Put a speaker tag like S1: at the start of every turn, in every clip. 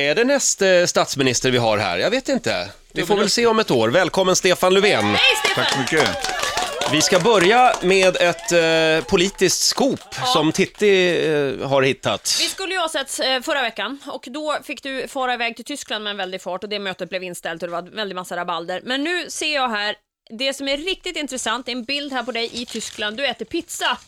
S1: Är det nästa statsminister vi har här? Jag vet inte. Vi får väl se om ett år. Välkommen Stefan Löfven.
S2: Tack så mycket.
S1: Vi ska börja med ett eh, politiskt skop som Titti eh, har hittat.
S3: Vi skulle ju ha setts eh, förra veckan och då fick du fara iväg till Tyskland med en väldig fart och det mötet blev inställt och det var en väldig massa rabalder. Men nu ser jag här, det som är riktigt intressant är en bild här på dig i Tyskland. Du äter pizza.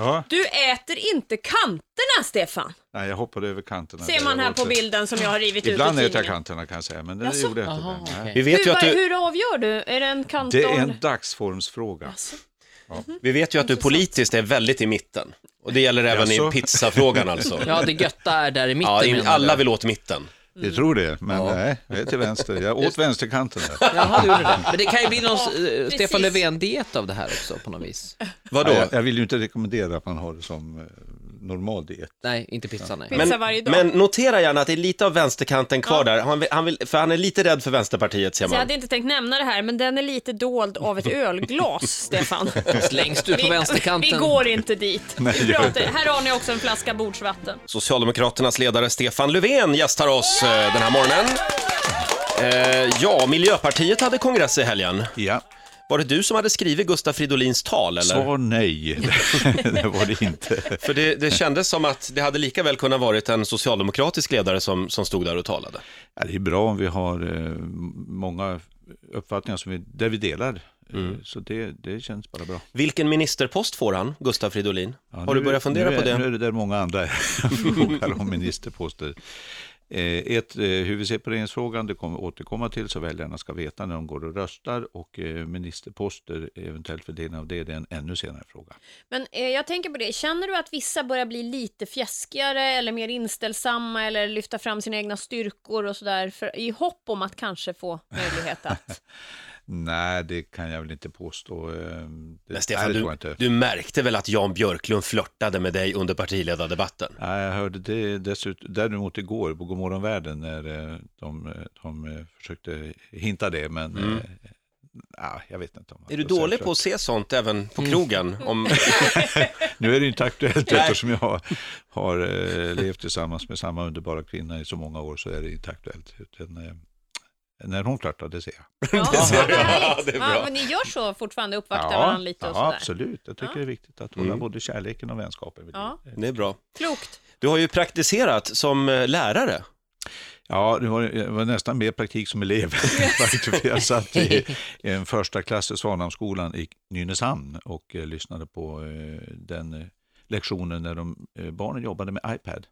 S2: Ja.
S3: Du äter inte kanterna, Stefan.
S2: Nej, jag hoppade över kanterna.
S3: Ser man
S2: Det
S3: här
S2: var
S3: på
S2: inte-
S3: bilden som jag har rivit
S2: Ibland
S3: ut ur
S2: äter jag
S3: tidningen.
S2: kanterna kan jag säga, men det
S3: Jaså?
S2: gjorde jag inte.
S4: Aha,
S2: den. Nej.
S1: Vi vet, ju
S3: hur,
S1: att du,
S3: hur avgör du? Är det en Alltså, kant
S2: Det
S3: och-
S2: är en dagsformsfråga.
S1: vi vet ju att du politiskt är väldigt i mitten. Och det gäller även i
S2: Jaså?
S1: pizzafrågan alltså.
S4: Ja, det götta är där i mitten
S1: Ja, in,
S4: menar
S1: alla
S4: du?
S1: vill åt mitten.
S2: Jag tror det, men nej, jag är till vänster. Jag åt vänsterkanten där.
S4: Jaha, du gjorde det. Men det kan ju bli någon
S3: Ja,
S4: eh,
S3: precis.
S4: Stefan Löfven-diet av det här också på något vis.
S1: Vadå?
S2: Nej, jag, jag vill ju inte rekommendera att man har det som eh, normal diet.
S4: Nej, inte pizza, nej.
S3: Men-
S1: Men,
S3: Pizza varje dag.
S1: men notera gärna att det är lite av vänsterkanten kvar där. Han vill, han vill, för han är lite rädd för Vänsterpartiet ser
S3: Så jag
S1: man.
S3: hade inte tänkt nämna det här, men den är lite dold av ett ölglas, Stefan.
S4: Fast längst ut på
S3: Vi-
S4: vänsterkanten.
S3: Vi går inte dit.
S2: Nej,
S3: vi
S2: gör
S3: pratar.
S2: inte.
S3: Här har ni också en flaska bordsvatten.
S1: Socialdemokraternas ledare Stefan Löfven gästar oss eh, den här morgonen. Eh, ja, Miljöpartiet hade kongress i helgen.
S2: Ja,
S1: Var det du som hade skrivit Gustaf Fridolins tal eller?
S2: svar nej. det var det inte.
S1: För det, det kändes som att det hade lika väl kunnat varit en socialdemokratisk ledare som, som stod där och talade.
S2: Ja, det är bra om vi har eh, många uppfattningar som vi, där vi delar. Eh, Så det, det känns bara bra.
S1: Vilken ministerpost får han, Gustaf Fridolin?
S2: Ja,
S1: Har du
S2: nu-
S1: börjat fundera
S2: nu är,
S1: på det?
S2: Nu är det där många andra frågar om ministerposter. Eh, ett, eh, hur vi ser på regeringsfrågan, det kommer vi återkomma till, så väljarna ska veta när de går och röstar. Och eh, ministerposter, eventuellt fördelning av det, det är en ännu senare fråga.
S3: Men eh, jag tänker på det, känner du att vissa börjar bli lite fjäskigare eller mer inställsamma eller lyfta fram sina egna styrkor och sådär för- i hopp om att kanske få möjlighet att...
S2: Nej, det kan jag väl inte påstå. Eh, det,
S1: Men
S2: nej,
S1: Stefan,
S2: det tror jag
S1: du,
S2: inte.
S1: du märkte väl att Jan Björklund flörtade med dig under partiledardebatten?
S2: Nej, jag hörde det dessutom, däremot igår på Godmorgon Världen när eh, de, eh, de eh, försökte hinta det, men eh, ah, jag Mm. vet inte. Om man
S1: Mm. Är du
S2: ska säga
S1: dålig
S2: så.
S1: på att se sånt även på krogen? Om,
S2: Nu är det inte aktuellt
S1: Nej.
S2: eftersom jag har, har eh, levt tillsammans med samma underbara kvinna i så många år så är det inte aktuellt. Utan, eh, när hon flörtar, det ser jag.
S3: Ja, det
S1: ser jag.
S3: ja,
S1: Det är bra.
S3: ja, men ni gör så fortfarande, uppvaktar varandra lite och
S2: ja
S3: sådär.
S2: absolut. Jag tycker
S3: Ja.
S2: det är viktigt att hålla
S1: Mm.
S2: både kärleken och vänskapen vid liv.
S3: Ja.
S1: det är bra.
S3: Klokt.
S1: Du har ju praktiserat som eh, lärare.
S2: Ja, det var, det var nästan mer praktik som elev. Faktiskt, för jag satt i en första klass i Svanhamnsskolan i Nynäshamn och eh, lyssnade på eh, den eh, lektionen när de, eh, barnen jobbade med iPad.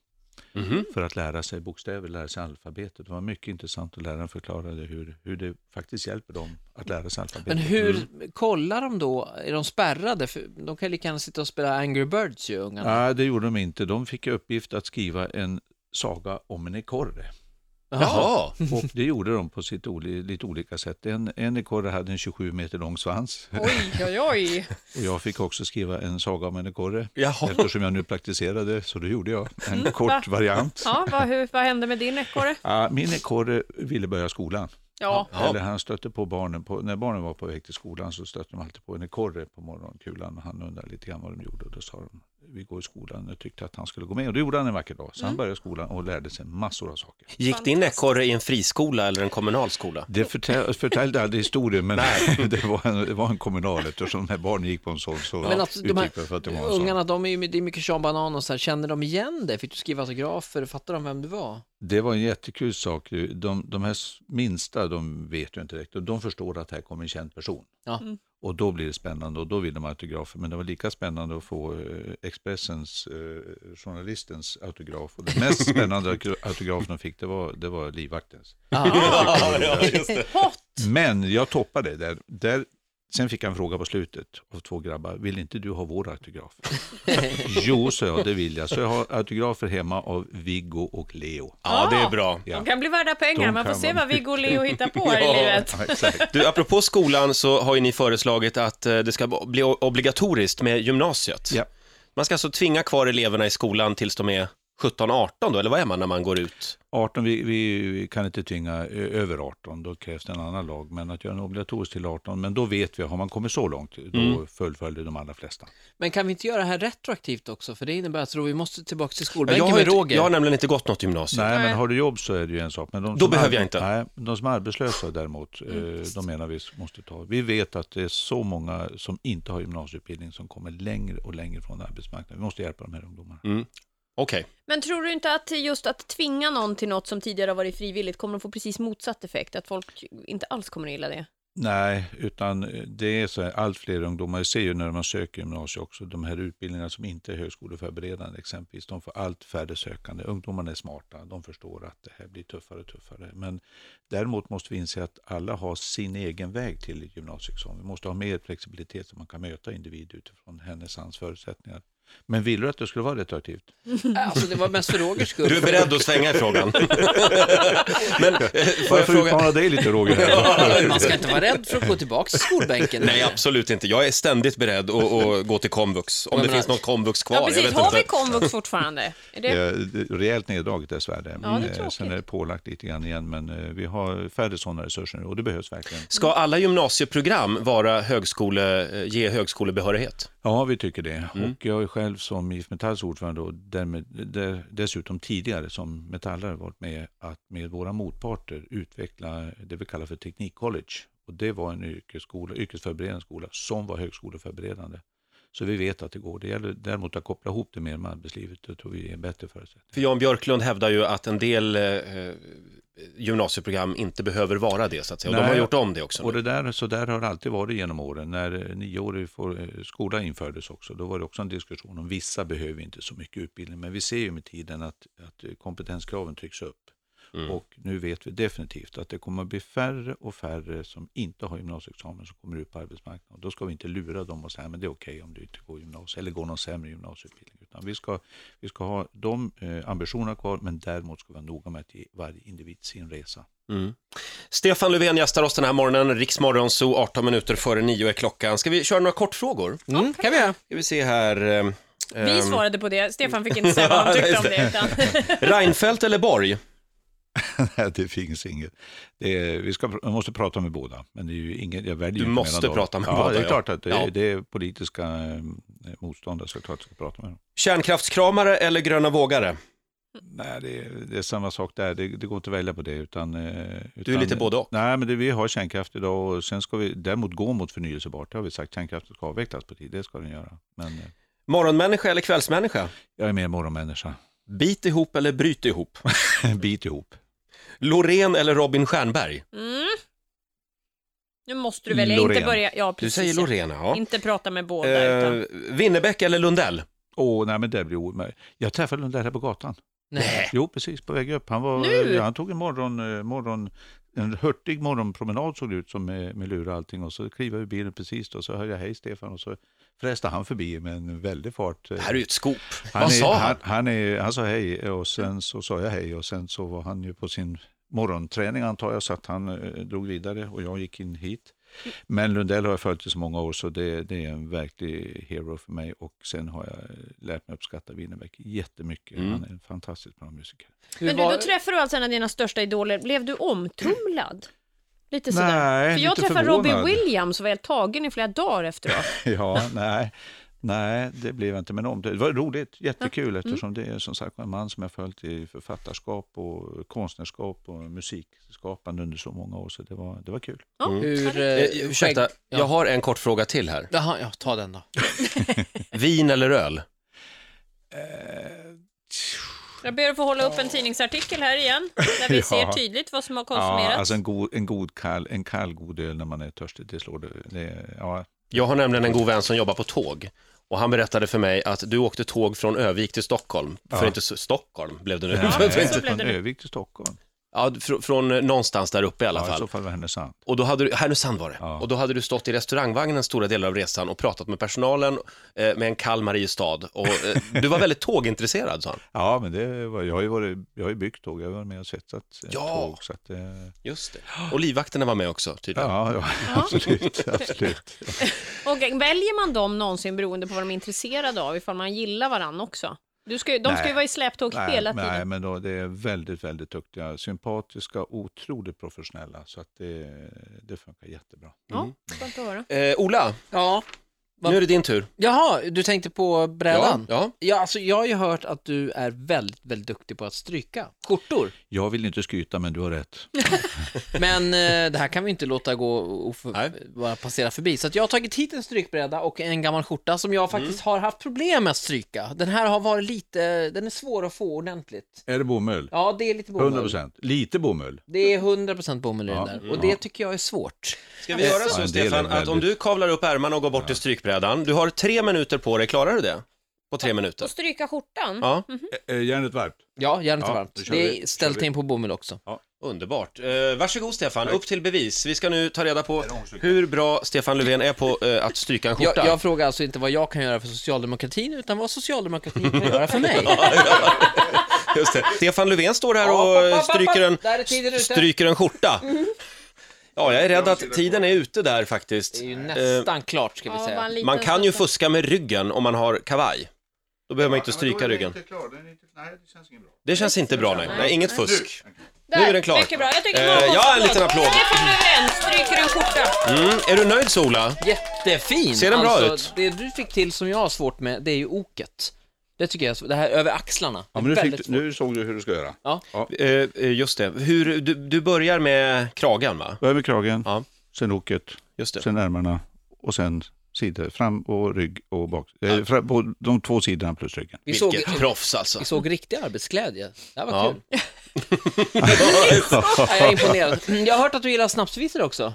S1: Mhm.
S2: för att lära sig bokstäver, lära sig alfabetet. Det var mycket intressant och läraren förklarade hur, hur det faktiskt hjälper dem att lära sig alfabetet. Mm.
S4: Men hur
S1: Mm.
S4: kollar de då? Är de spärrade? För de kan ju lika gärna sitta och spela Angry Birds ju, ungarna.
S2: Nej, det gjorde de inte. De fick i uppgift att skriva en saga om en ekorre.
S1: Jaha,
S2: Och det gjorde de på sitt oli, lite olika sätt. En, en ekorre hade en 27 meter lång svans
S3: Oj, oj, oj.
S2: och jag fick också skriva en saga om en ekorre.
S1: Jaha.
S2: Eftersom jag nu praktiserade, så det gjorde jag. En kort variant.
S3: Ja, vad, hur, vad hände med din ekorre?
S2: Ah, Min ekorre ville börja skolan.
S3: Ja.
S1: Ja.
S2: Eller han stötte på barnen, på, när barnen var på väg till skolan så stötte de alltid på en ekorre på morgonkulan. Han undrade lite grann vad de gjorde och då sa de vi går i skolan. Jag tyckte att han skulle gå med och det gjorde han en vacker dag. Så han började skolan och lärde sig massor av saker.
S1: gick din ekorre i en friskola eller en kommunal skola?
S2: Det förtäl- förtällde aldrig historien men det, var en, det var en kommunal eftersom när barnen gick på en sån så
S4: Men alltså, de här
S2: uttryckte jag för att det var en sån.
S4: ungarna, de är ju, det är mycket Sean Banan och så här, känner de igen dig? Fick du skriva autografer? Fattar de vem du var?
S2: Det var en jättekul sak. De, de här s- minsta, de vet ju inte direkt. Och De förstår att här kommer en känd person.
S4: Ja.
S3: Mm.
S2: Och då blir det spännande och då vill de ha autografer. Men det var lika spännande att få eh, Expressens, eh, journalistens autograf. Och den mest spännande auk- autografen de fick, det var, det var livvaktens.
S3: Hot.
S2: Men jag toppade där. där Sen fick jag en fråga på slutet av två grabbar. Vill inte du ha vår autograf? jo, sa jag, det vill jag. Så jag har autografer hemma av Viggo och Leo.
S1: Ja, det är bra.
S2: Ja.
S3: De kan bli värda pengar,
S2: De
S3: man får
S2: kan
S3: se
S2: vara-
S3: vad Viggo och Leo hittar på här i livet.
S2: Ja, exakt.
S1: Du, apropå skolan så har ju ni föreslagit att eh, det ska bli o- obligatoriskt med gymnasiet.
S2: Ja.
S1: Man ska alltså tvinga kvar eleverna i skolan tills de är 17-18 då, eller vad är man när man går ut?
S2: 18, vi, vi vi kan inte tvinga ö- över 18, då krävs det en annan lag. Men att göra en obligatorisk till 18, men då vet vi, har man kommit så långt, då
S1: Mm.
S2: fullföljer de allra flesta.
S4: Men kan vi inte göra det här retroaktivt också? För det innebär att Roger, vi måste tillbaka till
S1: jag,
S4: skolbänken
S1: har
S4: med
S1: inte-
S4: Roger.
S1: jag har nämligen inte gått något gymnasium.
S2: Nej,
S3: Nej.
S2: men har du jobb så är det ju en sak. Men de
S1: Då
S2: som
S1: behöver
S2: är,
S1: jag inte. Mm.
S2: Nej, de som är arbetslösa däremot, eh, de menar vi måste ta. Vi vet att det är så många som inte har gymnasieutbildning som kommer längre och längre från arbetsmarknaden. Vi måste hjälpa de här ungdomarna.
S1: Okej.
S3: Men tror du inte att just att tvinga någon till något som tidigare har varit frivilligt kommer att få precis motsatt effekt? Att folk inte alls kommer att gilla det?
S2: Nej, utan eh, det är så här, allt fler ungdomar, jag ser ju när man söker gymnasiet också, de här utbildningarna som inte är högskoleförberedande exempelvis, de får allt färre sökande. Ungdomarna är smarta, de förstår att det här blir tuffare och tuffare. Men däremot måste vi inse att alla har sin egen väg till gymnasieexamen. Vi måste ha mer flexibilitet så man kan möta individer utifrån hennes hans förutsättningar. Men vill du att det skulle vara retroaktivt?
S4: Alltså det var mest för Rogers skull.
S1: Du är beredd att svänga i frågan. Men eh, får jag
S2: Varför
S1: fråga?
S2: utmana dig lite Roger? Här?
S4: Man ska inte vara rädd för att gå tillbaka till skolbänken.
S1: Nej, absolut inte. Jag är ständigt beredd att, att gå till komvux, om
S4: Jag
S1: det
S4: menar-
S1: finns någon komvux kvar.
S3: Ja,
S1: Jag
S3: precis.
S1: vet
S3: Har
S1: inte.
S3: vi komvux fortfarande? Är det...
S2: Eh, det- Rejält neddraget dessvärre.
S3: Ja, det är
S2: Eh,
S3: tråkigt.
S2: Sen är det pålagt lite grann igen, men eh, vi har färre sådana resurser nu och det behövs verkligen.
S1: Ska alla gymnasieprogram vara högskole, eh, ge högskolebehörighet?
S2: Ja, vi tycker det. Och jag är själv som IF Metalls ordförande och därmed, de- dessutom tidigare som metallare varit med att med våra motparter utveckla det vi kallar för teknikcollege. Och det var en yrkesskola, yrkesförberedande skola som var högskoleförberedande. Så vi vet att det går. Det gäller däremot att koppla ihop det mer med arbetslivet. Det tror vi är bättre förutsättningar.
S1: För Jan Björklund hävdar ju att en del eh, gymnasieprogram inte behöver vara det, så att säga. Och de
S2: Nej.
S1: har gjort om det också.
S2: Och det där, så där har det alltid varit genom åren. När eh, nioårig for- eh, skola infördes också, då var det också en diskussion om vissa behöver inte så mycket utbildning. Men vi ser ju med tiden att, att eh, kompetenskraven trycks upp.
S1: Mm.
S2: Och nu vet vi definitivt att det kommer att bli färre och färre som inte har gymnasieexamen som kommer ut på arbetsmarknaden. Och då ska vi inte lura dem och säga men det är okej om du inte går gymnasiet eller går någon sämre gymnasieutbildning. Utan vi ska, vi ska ha de eh, ambitionerna kvar men däremot ska vi vara noga med att ge varje individ sin resa.
S1: Mm. Stefan Löfven gästar oss den här morgonen, Riksmorgon, så 18 minuter före nio är klockan. Ska vi köra några kortfrågor?
S4: Mm, kan vi göra.
S1: Ska vi se här. ehm,
S3: Vi
S1: ehm,
S3: svarade på det. Stefan fick inte säga vad han tyckte om det. Utan...
S1: Reinfeldt eller Borg?
S2: Nej, det finns inget. Det är, vi ska, vi måste prata med båda, men det är ju ingen, jag väljer
S1: Du
S2: ju inte
S1: måste
S2: mellan dem.
S1: prata med
S2: ja,
S1: båda,
S2: Det
S1: ja.
S2: är klart att det,
S1: Ja.
S2: det är politiska eh, motståndare, så klart ska jag prata med dem.
S1: Kärnkraftskramare eller gröna vågare?
S2: Nej, det, är- det är samma sak där. Det, det går inte att välja på det. Utan, eh, utan,
S1: Du är lite både och.
S2: Nej, men det, vi har kärnkraft idag och sen ska vi däremot gå mot förnyelsebart. Det har vi sagt. Kärnkraften ska avvecklas på tid, det ska den göra. Men eh,
S1: Morgonmänniska eller kvällsmänniska?
S2: jag är mer morgonmänniska.
S1: Bit ihop eller bryt ihop?
S2: Bit ihop.
S1: Loreen eller Robin Stjernberg?
S3: Mm. Nu måste du välja,
S2: Loreen.
S3: inte börja... Ja,
S1: Du
S3: precis.
S1: säger Loreen, ja.
S3: Inte prata med båda, utan...
S1: Eh, Winnerbäck eller Lundell?
S2: Åh, nej men det blir omöjligt. Jag träffade den där här på gatan.
S4: Nej.
S2: Jo, precis, på väg upp. Han, var,
S3: Nu?
S2: ja, han tog en morgon, eh, morgon en hurtig morgonpromenad såg det ut som med, med lura och allting och så kliver jag ur bilen precis då, så hör jag hej Stefan och så fräste han förbi med en väldig fart. eh,
S1: Det här är ju ett scoop.
S2: han
S1: Vad
S2: är-
S1: sa
S2: han?
S1: han?
S2: Han, är, han sa hej och sen så sa jag hej och sen så var han ju på sin morgonträning antar jag så att han eh, drog vidare och jag gick in hit. Men Lundell har jag följt i så många år så det, det är en verklig hero för mig och sen har jag eh, lärt mig uppskatta Winnerbäck jättemycket. Han är en fantastiskt bra musiker.
S4: Hur
S3: Men du,
S4: var-
S3: då träffar du alltså en av dina största idoler. Blev du omtumlad? Lite
S2: Nej,
S3: sådär. För jag
S2: lite
S3: träffade
S2: förvånad.
S3: Robbie Williams och var helt tagen i flera dagar efteråt.
S2: Ja, nej. Nej, det blev jag inte. Men om det. det var roligt, jättekul eftersom det är som sagt en man som jag följt i författarskap och konstnärskap och musikskapande under så många år. Så det var, det var kul.
S3: Ja,
S4: Hur...
S1: Eh,
S4: Eh,
S1: ursäkta,
S4: skägg-
S1: jag har en kort fråga till här.
S4: Jaha, ja, ta den då.
S1: Vin eller öl?
S3: Jag ber att få hålla upp en tidningsartikel här igen, där vi
S2: Ja.
S3: ser tydligt vad som har
S2: Ja,
S3: konsumerats.
S2: alltså en god, en god kall, en kall god öl när man är törstig, det slår det. det ja.
S1: Jag har nämligen en god vän som jobbar på tåg. Och han berättade för mig att du åkte tåg från Övik till Stockholm. För
S2: Ja.
S1: inte så- Stockholm blev det nu.
S2: Ja,
S1: För inte-
S3: så blev
S2: från
S3: det nu.
S2: Övik till Stockholm.
S1: ja, fr- från eh, någonstans där uppe i alla
S2: Ja, I
S1: fall.
S2: så fall var Härnösand.
S1: Och då hade du, Härnösand var det.
S2: Ja.
S1: Och då hade du stått i restaurangvagnen stora delar av resan och pratat med personalen eh, med en kall Mariestad. Och eh, du var väldigt tågintresserad sa han.
S2: Ja, men det var, jag, har ju varit, jag har ju byggt tåg, jag har varit med och svetsat eh,
S1: Ja.
S2: tåg. Så att, eh,
S1: Just det. Och livvakterna var med också tydligen.
S2: ja, ja, absolut. absolut.
S3: Och väljer man dem någonsin beroende på vad de är intresserade av, ifall man gillar varann också? Du ska, ju- de ska ju
S2: Nej.
S3: vara i släptåg
S2: nej,
S3: hela
S2: nej,
S3: tiden.
S2: men då, det är väldigt, väldigt duktiga, sympatiska, otroligt professionella. Så att det, det funkar jättebra.
S3: Ja, skönt att höra.
S1: Mm. Eh, Ola,
S4: Ja. Va?
S1: nu är det din tur.
S4: Jaha, du tänkte på
S1: Ja,
S4: brädan? Ja.
S1: ja.
S4: alltså jag har ju hört att du är väldigt, väldigt duktig på att stryka skjortor.
S2: Jag vill inte skryta, men du har rätt.
S4: Men eh, det här kan vi inte låta gå och
S1: Nej.
S4: för, bara passera förbi. Så att jag har tagit hit en strykbräda och en gammal skjorta som jag faktiskt har haft problem med att stryka. Den här har varit lite, den är svår att få ordentligt.
S2: Är det bomull?
S4: Ja, det är lite bomull.
S2: 100 procent. Lite bomull.
S4: Det är 100% bomull i den
S2: Ja.
S4: där.
S2: Mm.
S4: Och det tycker jag är svårt.
S1: Ska vi göra
S2: Ja, en del
S1: så,
S2: är
S1: Stefan, att
S2: väldigt-
S1: om du kavlar upp ärmarna och går bort till strykbrädan, du har tre minuter på dig, klarar du det? På tre minuter?
S3: Och stryka skjortan.
S1: Ja,
S2: Ä- ä, Järnet varmt.
S4: Ja, gärna inte
S2: Ja,
S4: varmt.
S2: då kör
S4: Det
S2: vi.
S4: är
S2: Då
S4: ställt
S2: kör vi.
S4: in på bomull också.
S1: underbart. Eh, varsågod Stefan,
S2: Tack.
S1: upp till bevis. Vi ska nu ta reda på
S2: är långstrykning.
S1: hur bra Stefan Löfven är på eh, att stryka en
S4: Jag,
S1: skjorta.
S4: jag frågar alltså inte vad jag kan göra för socialdemokratin, utan vad socialdemokratin kan göra för mig.
S1: Just det. Stefan Löfven står här
S4: Ja,
S1: och
S4: papp,
S1: eh,
S4: papp,
S1: stryker en,
S4: där är tiden ute. Mm.
S1: stryker en skjorta. Ja, jag är rädd att tiden är ute där faktiskt.
S4: Det är ju
S1: Eh,
S4: nästan klart, ska vi
S3: Ja, bara en
S4: säga.
S3: liten
S1: Man kan ju
S3: stund.
S1: fuska med ryggen om man har kavaj. Då behöver man inte stryka ryggen.
S2: Nej, det känns inget bra.
S1: Det känns inte bra, nej. nej inget fusk.
S3: Där,
S1: Nu är den klar.
S3: Mycket bra. Jag tycker
S1: Eh,
S3: det var en
S1: ja, en
S3: applåd.
S1: liten applåd.
S3: Stefan Löfven stryker en skjorta.
S1: Mm. Är du nöjd, Sola?
S4: Jättefin!
S1: Ser den bra
S4: alltså,
S1: ut?
S4: Det du fick till som jag har svårt med, det är ju oket. Det tycker jag är svårt. Det här över axlarna.
S2: Ja, men nu,
S4: Väldigt
S2: fick,
S4: svårt.
S2: nu såg du hur du ska göra.
S4: Ja.
S1: Eh, eh, just det. Hur, du, du börjar med kragen, va?
S2: Börja med kragen,
S1: Ja.
S2: sen loket,
S1: Just det.
S2: sen ärmarna och sen sidor. Fram och rygg och bak. Eh, fram, på de två sidorna plus ryggen.
S4: Vi såg,
S1: Vilket proffs, alltså.
S4: vi såg riktig arbetsglädje. Det här var
S1: Ja.
S4: kul. Nej, jag är imponerad. Jag har hört att du gillar snapsvisor också.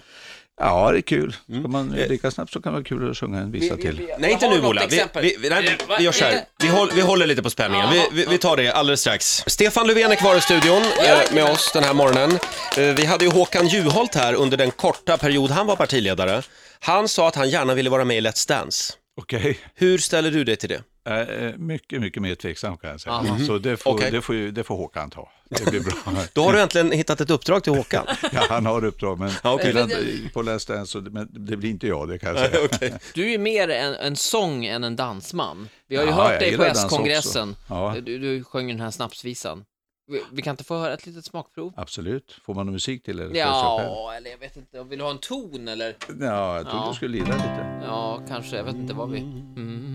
S2: Ja, det är kul. Ska man dricka snabbt så kan det vara kul att sjunga en visa till.
S1: Nej, inte
S4: Jag har
S1: nu,
S4: något
S1: Ola. Vi,
S4: exempel. Eh,
S1: vi, vi- nej, vi gör så här. Vi, håll, vi håller lite på spänningen. Vi, vi, vi tar det alldeles strax. Stefan Löfven är kvar i studion eh, med oss den här morgonen. Eh, vi hade ju Håkan Juholt här under den korta period han var partiledare. Han sa att han gärna ville vara med i Let's Dance.
S2: Okej.
S1: Hur ställer du dig till det?
S2: Eh, eh, Mycket, mycket mer tveksam kan jag säga.
S4: Aha.
S2: Så det får,
S1: Okej.
S2: det, får ju, det får Håkan ta. Det blir bra.
S1: Då har du äntligen hittat ett uppdrag till Håkan.
S2: Ja, han har uppdrag, men
S1: Ja, okej.
S2: innan- på Let's Dance, så- men det blir inte jag det kan jag säga.
S1: Okej.
S4: Du är mer en, en sång än en dansman. Vi har ju
S2: Ja,
S4: hört
S2: jag
S4: dig på
S2: gillar dans
S4: S-kongressen.
S2: också. Ja.
S4: Du, du sjöng den här snapsvisan. Vi, vi kan inte få höra ett litet smakprov?
S2: Absolut. Får man musik till eller?
S4: Ja, eller jag vet inte. Vill du ha en ton eller?
S2: ja, jag trodde
S4: Ja.
S2: du skulle lira lite.
S4: Ja, kanske. Jag vet inte vad vi... Mm.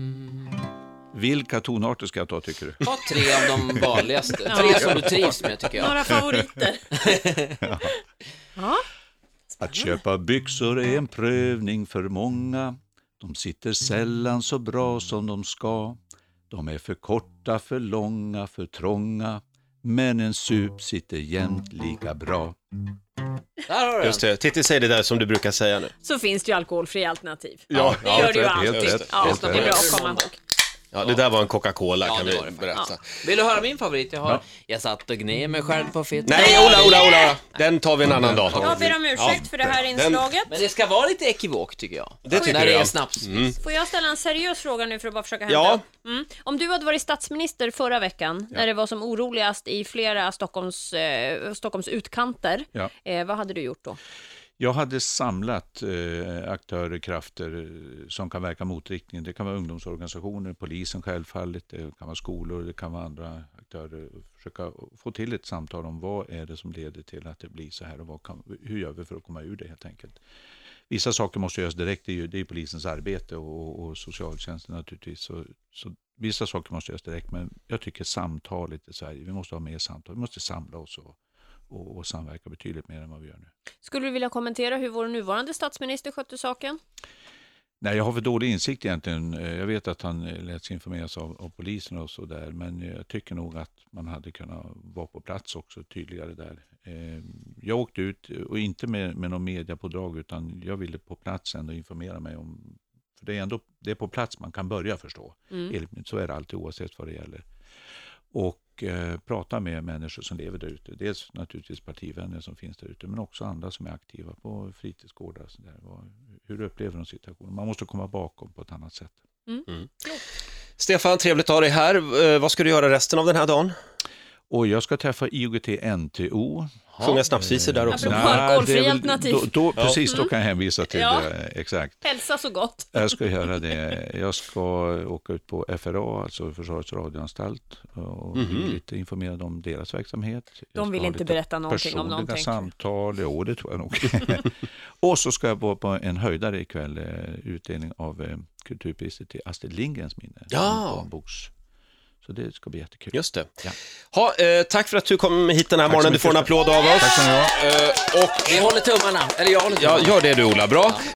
S2: Vilka tonarter ska jag ta tycker du?
S4: Ta tre av de vanligaste. Tre som du trivs med tycker jag.
S3: Några favoriter. ja.
S2: Att köpa byxor är en prövning för många. De sitter sällan så bra som de ska. De är för korta, för långa, för trånga. Men en sup sitter jämt lika bra.
S4: Där har du den.
S1: Just det. Titti, säg det där som du brukar säga nu.
S3: Så finns det ju alkoholfria alternativ.
S1: Ja,
S3: Det gör det ju
S2: helt
S3: alltid.
S2: rätt.
S3: Ja,
S2: Helt
S3: det är
S2: rätt.
S3: bra att komma ihåg.
S1: Ja, det där var en Coca-Cola
S4: Ja,
S1: kan
S4: det
S1: vi
S4: var det faktiskt.
S1: berätta.
S4: Vill du höra min favorit? Jag har... Jag satt och gned mig själv på fittan.
S1: Nej, Ola, Ola, Ola! Den tar vi en annan dag.
S3: Jag ber om ursäkt för det här inslaget.
S4: Men det ska vara lite ekivok tycker jag.
S1: Det tycker
S4: När det är
S1: jag.
S4: en snapsvis.
S3: Får jag ställa en seriös fråga nu för att bara försöka hämta
S1: Ja.
S3: upp? mm. Om du hade varit statsminister förra veckan, när det var som oroligast i flera Stockholms, eh, Stockholms utkanter,
S2: Ja.
S3: eh, vad hade du gjort då?
S2: Jag hade samlat eh, aktörer, krafter eh, som kan verka motriktningen. Det kan vara ungdomsorganisationer, polisen självfallet, det kan vara skolor, det kan vara andra aktörer. Försöka få till ett samtal om vad är det som leder till att det blir så här och vad kan, hur gör vi för att komma ur det helt enkelt. Vissa saker måste göras direkt, det är ju det är polisens arbete och, och socialtjänsten naturligtvis. Så, så vissa saker måste göras direkt, men jag tycker samtalet i Sverige, vi måste ha mer samtal, vi måste samla oss och, och, och samverka betydligt mer än vad vi gör nu.
S3: Skulle du vilja kommentera hur vår nuvarande statsminister skötte saken?
S2: Nej, jag har för dålig insikt egentligen. Eh, Jag vet att han eh, lät sig informeras av, av polisen och så där, men jag tycker nog att man hade kunnat vara på plats också tydligare där. Eh, Jag åkte ut, eh, och inte med, med någon mediapådrag, utan jag ville på plats ändå informera mig om... För det är ändå det är på plats man kan börja förstå. Enligt- Så är det alltid oavsett vad det gäller. Och eh, prata med människor som lever där ute. Dels naturligtvis partivänner som finns där ute, men också andra som är aktiva på fritidsgårdar. Och så där. Vad- hur upplever de situationen? Man måste komma bakom på ett annat sätt.
S1: Stefan, trevligt att ha dig här. Eh, Vad ska du göra resten av den här dagen?
S2: Och jag ska träffa IOGT-NTO.
S1: Sjunga snapsvisor där också.
S3: Apropå alkoholfri
S2: det är väl-
S3: alternativ. Mm.
S2: Då, då, precis, då kan jag hänvisa till
S3: Ja.
S2: det. Exakt.
S3: Hälsa så gott.
S2: Jag ska göra det. Jag ska åka ut på FRA, alltså Försvarets radioanstalt, och bli lite informerad om deras verksamhet. Jag
S3: De vill
S2: ska ha
S3: inte
S2: lite
S3: berätta någonting om
S2: personliga
S3: någonting.
S2: samtal, jo det tror jag nog. och så ska jag vara på en höjdare ikväll, eh, utdelning av eh, kulturpriset till Astrid Lindgrens minne.
S1: Ja.
S2: Barnboks. Så det ska bli jättekul.
S1: Just det.
S2: Ja.
S1: Ha, eh, tack för att du kom hit den här
S2: Tack så
S1: morgonen. Du
S2: mycket.
S1: får en applåd av oss.
S2: Tack ska ni ha.
S1: Eh, och
S4: Vi håller tummarna, eller jag håller
S1: Ja,
S4: tummarna.
S1: gör det du Ola, bra.